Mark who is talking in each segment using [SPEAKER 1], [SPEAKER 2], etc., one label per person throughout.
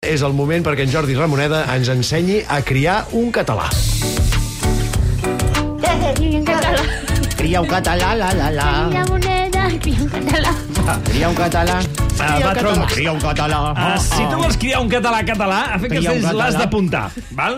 [SPEAKER 1] És el moment perquè en Jordi Ramoneda ens ensenyi a criar un català.
[SPEAKER 2] Cria un català.
[SPEAKER 3] Cria un català, la, la, la.
[SPEAKER 2] Cria moneda, cria un català.
[SPEAKER 3] Cria un català.
[SPEAKER 4] Ah, va, tronc.
[SPEAKER 3] Cria un català.
[SPEAKER 4] Ah, si tu vols criar un català català, a fer
[SPEAKER 3] Criar un
[SPEAKER 4] castells l'has
[SPEAKER 3] català.
[SPEAKER 4] d'apuntar, val?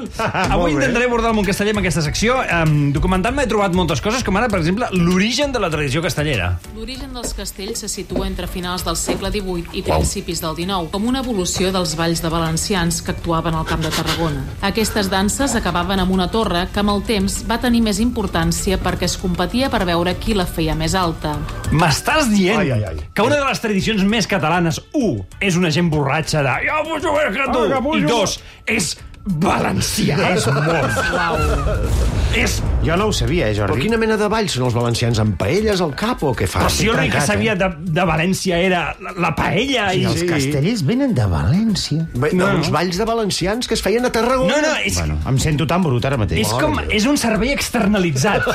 [SPEAKER 4] Avui intentaré abordar el món casteller en aquesta secció. Um, documentant-me he trobat moltes coses, com ara, per exemple, l'origen de la tradició castellera.
[SPEAKER 5] L'origen dels castells se situa entre finals del segle XVIII i principis del XIX, com una evolució dels valls de valencians que actuaven al Camp de Tarragona. Aquestes danses acabaven amb una torre que amb el temps va tenir més importància perquè es competia per veure qui la feia més alta.
[SPEAKER 4] M'estàs dient
[SPEAKER 1] Ai, ai, ai.
[SPEAKER 4] que una de les tradicions més catalanes, un, és una gent borratxa de jo pujo més que tu,
[SPEAKER 1] Ah, que pujo.
[SPEAKER 4] i dos, és valencià. És molt. És...
[SPEAKER 3] Jo no ho sabia, eh,
[SPEAKER 1] Però
[SPEAKER 3] Jordi.
[SPEAKER 1] quina mena de ball són els valencians? Amb paelles al cap o què fan?
[SPEAKER 4] Però si jo l'únic que sabia de, de València era la, la paella i...
[SPEAKER 3] eh? Els
[SPEAKER 1] eh? Sí.
[SPEAKER 3] castellers venen de València.
[SPEAKER 1] Bé, no. Uns balls de valencians que es feien a Tarragona.
[SPEAKER 4] No, no, és,
[SPEAKER 3] Bueno, em sento tan brut ara mateix.
[SPEAKER 4] És com... És un servei externalitzat,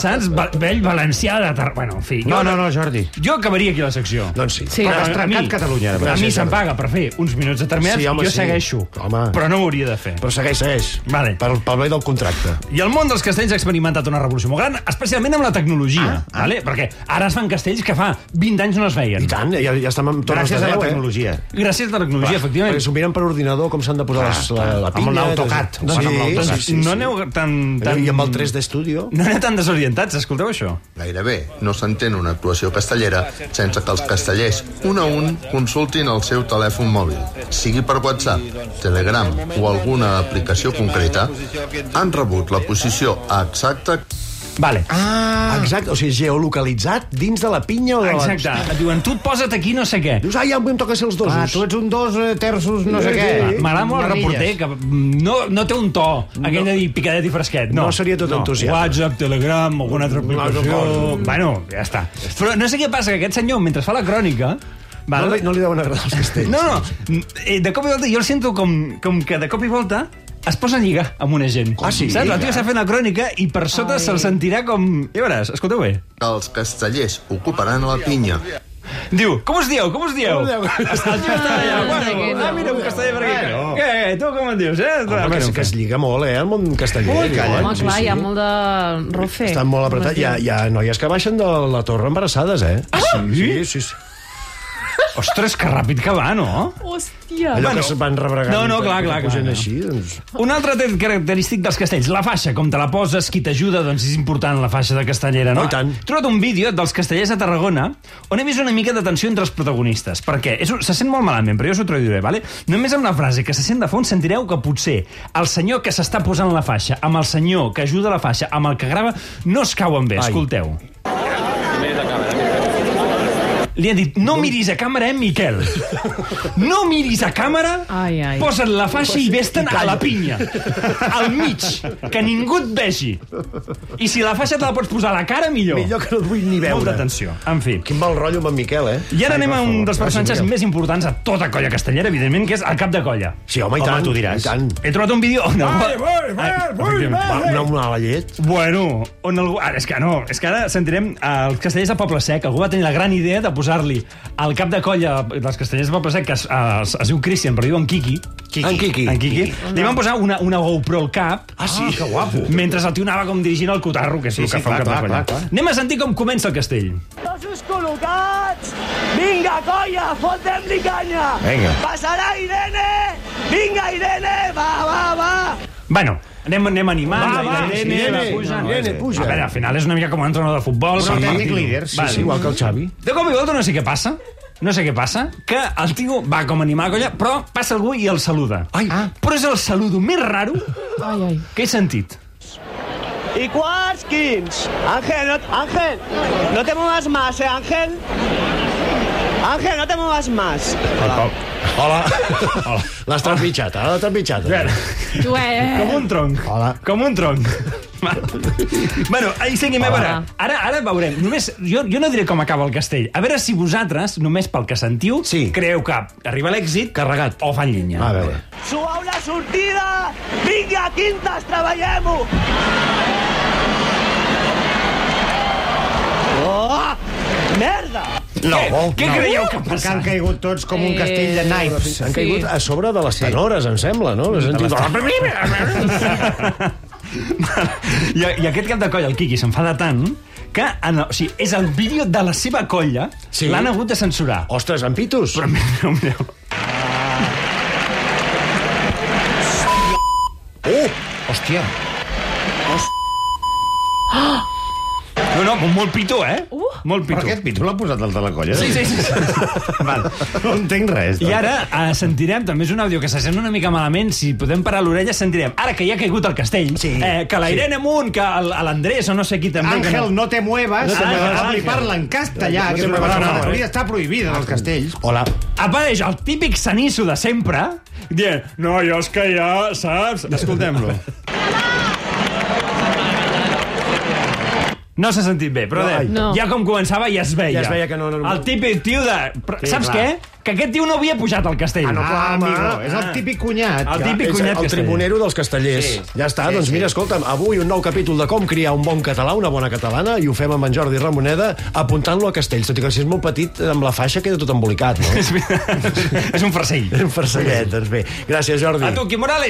[SPEAKER 4] saps? Va, vell valencià de tar... Bueno, en fi...
[SPEAKER 3] No, no, no, Jordi.
[SPEAKER 4] Jo acabaria aquí la secció.
[SPEAKER 1] Doncs sí.
[SPEAKER 3] Sí. Però has
[SPEAKER 4] a
[SPEAKER 3] trencat
[SPEAKER 4] mi-
[SPEAKER 3] Catalunya, ara
[SPEAKER 4] A mi
[SPEAKER 3] mateix.
[SPEAKER 4] se'm paga per fer uns minuts determinats,
[SPEAKER 1] Sí, home,
[SPEAKER 4] jo
[SPEAKER 1] sí.
[SPEAKER 4] segueixo.
[SPEAKER 1] Home.
[SPEAKER 4] Però no ho hauria de fer.
[SPEAKER 1] Però segueix, segueix.
[SPEAKER 4] Vale.
[SPEAKER 1] Per, pel bé del contracte.
[SPEAKER 4] I el món dels castells ha experimentat una revolució molt gran, especialment amb la tecnologia, ah, ah. Vale? perquè ara es fan castells que fa 20 anys no es veien.
[SPEAKER 1] I tant, eh? ja, ja estem amb torres
[SPEAKER 3] Gràcies
[SPEAKER 1] de eh?
[SPEAKER 3] a la
[SPEAKER 1] veu,
[SPEAKER 3] tecnologia.
[SPEAKER 4] Gràcies a la tecnologia,
[SPEAKER 1] Eh?
[SPEAKER 4] efectivament.
[SPEAKER 1] Perquè s'ho miren per ordinador, com s'han de posar les, la, la
[SPEAKER 3] amb
[SPEAKER 1] pinya.
[SPEAKER 3] l'AutoCAD.
[SPEAKER 1] Doncs,
[SPEAKER 3] Ho fan amb
[SPEAKER 1] sí,
[SPEAKER 3] l'AutoCAD.
[SPEAKER 1] sí, sí,
[SPEAKER 4] no
[SPEAKER 1] sí.
[SPEAKER 4] aneu tan... tan...
[SPEAKER 1] I amb el 3 d'estudio.
[SPEAKER 4] No aneu tan desorientats, escolteu això.
[SPEAKER 6] Gairebé no s'entén una actuació castellera sense que els castellers, un a un, consultin el seu telèfon mòbil, sigui per WhatsApp, Telegram o alguna aplicació concreta, han rebut la posició exacta
[SPEAKER 4] Vale.
[SPEAKER 1] Exacte, o sigui, geolocalitzat dins de la pinya o de la...
[SPEAKER 4] Ah. Exacte. Et diuen, tu et posa't aquí no sé què.
[SPEAKER 1] Dius, ai, ja em toca ser els dosos.
[SPEAKER 3] Ah, tu ets un dos eh, terços, no sé
[SPEAKER 1] Sí,
[SPEAKER 3] què.
[SPEAKER 1] sí.
[SPEAKER 4] M'agrada molt el reporter, que no, no té un to, aquell de dir picadet i fresquet. No,
[SPEAKER 1] No seria tot entusiasme.
[SPEAKER 4] WhatsApp, Telegram, alguna altra
[SPEAKER 1] altra
[SPEAKER 4] aplicació...
[SPEAKER 1] cosa.
[SPEAKER 4] Bueno, ja està. Però no sé què passa, que aquest senyor, mentre fa la crònica...
[SPEAKER 1] No,
[SPEAKER 4] Val?
[SPEAKER 1] li, no li deuen agradar els castells.
[SPEAKER 4] no, no, eh, de cop i volta, jo el sento com, com que de cop i volta es posa a lligar amb una gent.
[SPEAKER 1] Ah, sí?
[SPEAKER 4] Saps? El tio està fent la crònica i per sota se'l sentirà com... Ja veuràs, escolteu bé.
[SPEAKER 6] que els castellers ocuparan a la pinya.
[SPEAKER 4] Diu, com us dieu, com us dieu? El tio està allà, bueno, ah, mira, un casteller per aquí. Què, què, tu com et dius, eh?
[SPEAKER 1] Home, que, es- que es lliga molt, eh, el món casteller. Ui, calla.
[SPEAKER 7] Home, clar, hi ha molt de rofe.
[SPEAKER 1] Estan molt apretats. Hi ha, hi ha noies que baixen de la torre embarassades, eh? Ah, sí? Sí, sí. sí.
[SPEAKER 4] Ostres, que ràpid que va, no?
[SPEAKER 7] Hòstia.
[SPEAKER 1] Allò
[SPEAKER 4] Bueno.
[SPEAKER 1] que es van rebregant.
[SPEAKER 4] No, no,
[SPEAKER 1] que-
[SPEAKER 4] clar,
[SPEAKER 1] que
[SPEAKER 4] clar,
[SPEAKER 1] pugen
[SPEAKER 4] clar, no.
[SPEAKER 1] així, doncs...
[SPEAKER 4] Un altre tret característic dels castells, la faixa. Com te la poses, qui t'ajuda, doncs és important la faixa de castellera, no?
[SPEAKER 1] Oh, i tant.
[SPEAKER 4] He trobat un vídeo dels castellers a Tarragona on he vist una mica de tensió entre els protagonistes. Perquè és, un- se sent molt malament, però jo us ho traduiré, vale? Només amb la frase que se sent de fons sentireu que potser el senyor que s'està posant la faixa, amb el senyor que ajuda la faixa, amb el que grava, no es cauen bé.
[SPEAKER 1] Ai.
[SPEAKER 4] Escolteu. Li han dit, no miris a càmera, eh, Miquel? No miris a càmera,
[SPEAKER 7] Ai, ai.
[SPEAKER 4] posa't la faixa i vés-te'n a la pinya. Al mig, que ningú et vegi. I si la faixa te la pots posar a la cara, millor.
[SPEAKER 1] Millor que no et vull ni veure.
[SPEAKER 4] Molta atenció. En fi.
[SPEAKER 1] Quin mal rotllo amb en Miquel, eh?
[SPEAKER 4] I ara anem a un dels
[SPEAKER 1] Gràcies,
[SPEAKER 4] personatges
[SPEAKER 1] Miquel.
[SPEAKER 4] més importants a tota colla castellera, evidentment, que és el cap de colla.
[SPEAKER 1] Sí, home, i tant.
[SPEAKER 3] tu diràs.
[SPEAKER 1] I tant.
[SPEAKER 4] He trobat un vídeo... Oh, Ah, on algú-
[SPEAKER 1] Va, una mala llet.
[SPEAKER 4] Bueno, on algú... Ara, és que no, és que ara sentirem eh, els castellers de Poble Sec. Algú va tenir la gran idea de posar-li al cap de colla dels castellers de Poble Sec, que es, eh, es, es diu Christian, però diuen Kiki.
[SPEAKER 1] Kiki. En Kiki.
[SPEAKER 4] En Kiki. Li van posar una, una GoPro al cap.
[SPEAKER 1] Ah, sí? que guapo.
[SPEAKER 4] Mentre el tio anava com dirigint el cotarro, que és
[SPEAKER 3] Sí,
[SPEAKER 4] el que
[SPEAKER 3] sí,
[SPEAKER 4] fa un cap
[SPEAKER 3] clar,
[SPEAKER 4] de
[SPEAKER 3] clar,
[SPEAKER 4] colla.
[SPEAKER 3] clar, clar.
[SPEAKER 4] Anem a sentir com comença el castell.
[SPEAKER 8] Dosos col·locats! Vinga, colla, fotem-li canya!
[SPEAKER 3] Vinga.
[SPEAKER 8] Passarà Irene! Vinga, Irene! Va, va, va!
[SPEAKER 4] Bueno, anem, anem animant.
[SPEAKER 1] Va, va,
[SPEAKER 4] Irene,
[SPEAKER 1] Irene,
[SPEAKER 4] va pujant.
[SPEAKER 1] Irene, puja.
[SPEAKER 4] A veure, al final és una mica com un entrenador de futbol.
[SPEAKER 3] Però
[SPEAKER 4] per
[SPEAKER 3] tècnic
[SPEAKER 4] partir-ho.
[SPEAKER 3] líder, sí,
[SPEAKER 4] Vale.
[SPEAKER 1] Sí, igual que el Xavi.
[SPEAKER 4] De cop i volta no sé què passa, no sé què passa, que el tio va com a animar a colla, però passa algú i el saluda. Ai, ah. Però és el saludo més raro
[SPEAKER 7] Ai, ai.
[SPEAKER 4] que he sentit.
[SPEAKER 8] I quarts, quins! Ángel, no, Ángel, no te muevas más, eh, Ángel? Ángel, no te muevas más.
[SPEAKER 1] Hola. Hola. L'has trepitjat, ara l'has trepitjat. eh?
[SPEAKER 4] Com
[SPEAKER 7] Joé.
[SPEAKER 4] un tronc.
[SPEAKER 1] Hola.
[SPEAKER 4] Com un tronc. Va. bueno, ahí seguim, a veure.
[SPEAKER 7] Hola.
[SPEAKER 4] Ara, ara veurem. Només, jo, jo no diré com acaba el castell. A veure si vosaltres, només pel que sentiu,
[SPEAKER 1] Sí.
[SPEAKER 4] creieu que arriba l'èxit
[SPEAKER 1] Carregat.
[SPEAKER 4] o fan llenya.
[SPEAKER 1] A veure.
[SPEAKER 8] Suau la sortida! Vinga, quintes, treballem-ho! Oh, merda!
[SPEAKER 3] No,
[SPEAKER 4] què
[SPEAKER 3] no.
[SPEAKER 4] creieu que ha passat?
[SPEAKER 3] Que han caigut tots com un castell de naipes.
[SPEAKER 1] Eh, Han caigut a sobre de les tenores, em sembla, no? Les han dit...
[SPEAKER 4] I, I aquest cap de colla, el Quiqui, s'enfada tant que en, o sigui, és el vídeo de la seva colla
[SPEAKER 1] Sí.
[SPEAKER 4] sí. l'han hagut de censurar.
[SPEAKER 1] Ostres, en Pitus!
[SPEAKER 4] Però mireu, mireu.
[SPEAKER 3] Hòstia.
[SPEAKER 4] No, no, molt pitó, eh? Uh, molt pitó.
[SPEAKER 3] Però aquest pitu l'ha posat el de la
[SPEAKER 1] eh?
[SPEAKER 3] colla?
[SPEAKER 4] Sí, sí, sí. sí. Val.
[SPEAKER 3] No entenc res.
[SPEAKER 4] I ara eh, sentirem, també és un àudio que se sent una mica malament, si podem parar l'orella sentirem, ara que ja ha caigut el castell, sí, eh, que la Irene sí. Munt, que el- a l'Andrés o no sé qui també... que
[SPEAKER 3] Àngel, no te muevas.
[SPEAKER 4] No te muevas,
[SPEAKER 3] Ara li
[SPEAKER 4] Àngel.
[SPEAKER 3] parla en castellà,
[SPEAKER 1] No
[SPEAKER 3] que és
[SPEAKER 1] te
[SPEAKER 3] una
[SPEAKER 1] muevas,
[SPEAKER 3] paraula
[SPEAKER 1] no.
[SPEAKER 3] que
[SPEAKER 4] eh?
[SPEAKER 3] hauria d'estar prohibida als castells.
[SPEAKER 1] Hola.
[SPEAKER 4] Apareix el típic sanisso de sempre, dient, no, jo és que ja, saps? Escoltem-lo. No s'ha sentit bé, però de,
[SPEAKER 7] No.
[SPEAKER 4] ja com començava ja es
[SPEAKER 1] Ja
[SPEAKER 4] veia.
[SPEAKER 1] es veia que no- no-
[SPEAKER 4] El típic tio de... Però,
[SPEAKER 3] Sí,
[SPEAKER 4] saps
[SPEAKER 3] clar.
[SPEAKER 4] què? Que aquest tio no havia pujat al castell.
[SPEAKER 3] Ah, no, clar,
[SPEAKER 1] Ah,
[SPEAKER 3] amigo.
[SPEAKER 1] ah.
[SPEAKER 3] És el típic cunyat.
[SPEAKER 4] El
[SPEAKER 3] que-
[SPEAKER 4] típic-
[SPEAKER 1] És
[SPEAKER 4] cunyat
[SPEAKER 1] el
[SPEAKER 4] casteller.
[SPEAKER 1] tribunero dels castellers.
[SPEAKER 3] Sí.
[SPEAKER 1] Ja està,
[SPEAKER 3] Sí,
[SPEAKER 1] doncs
[SPEAKER 3] sí.
[SPEAKER 1] mira, escolta'm, avui un nou capítol de com criar un bon català, una bona catalana, i ho fem amb en Jordi Ramoneda apuntant-lo a castells, tot i que si és molt petit, amb la faixa queda tot embolicat, no?
[SPEAKER 4] És veritat. És un farcell.
[SPEAKER 1] Un farcellet, doncs bé. Gràcies, Jordi.
[SPEAKER 4] A tu, Quim Morales.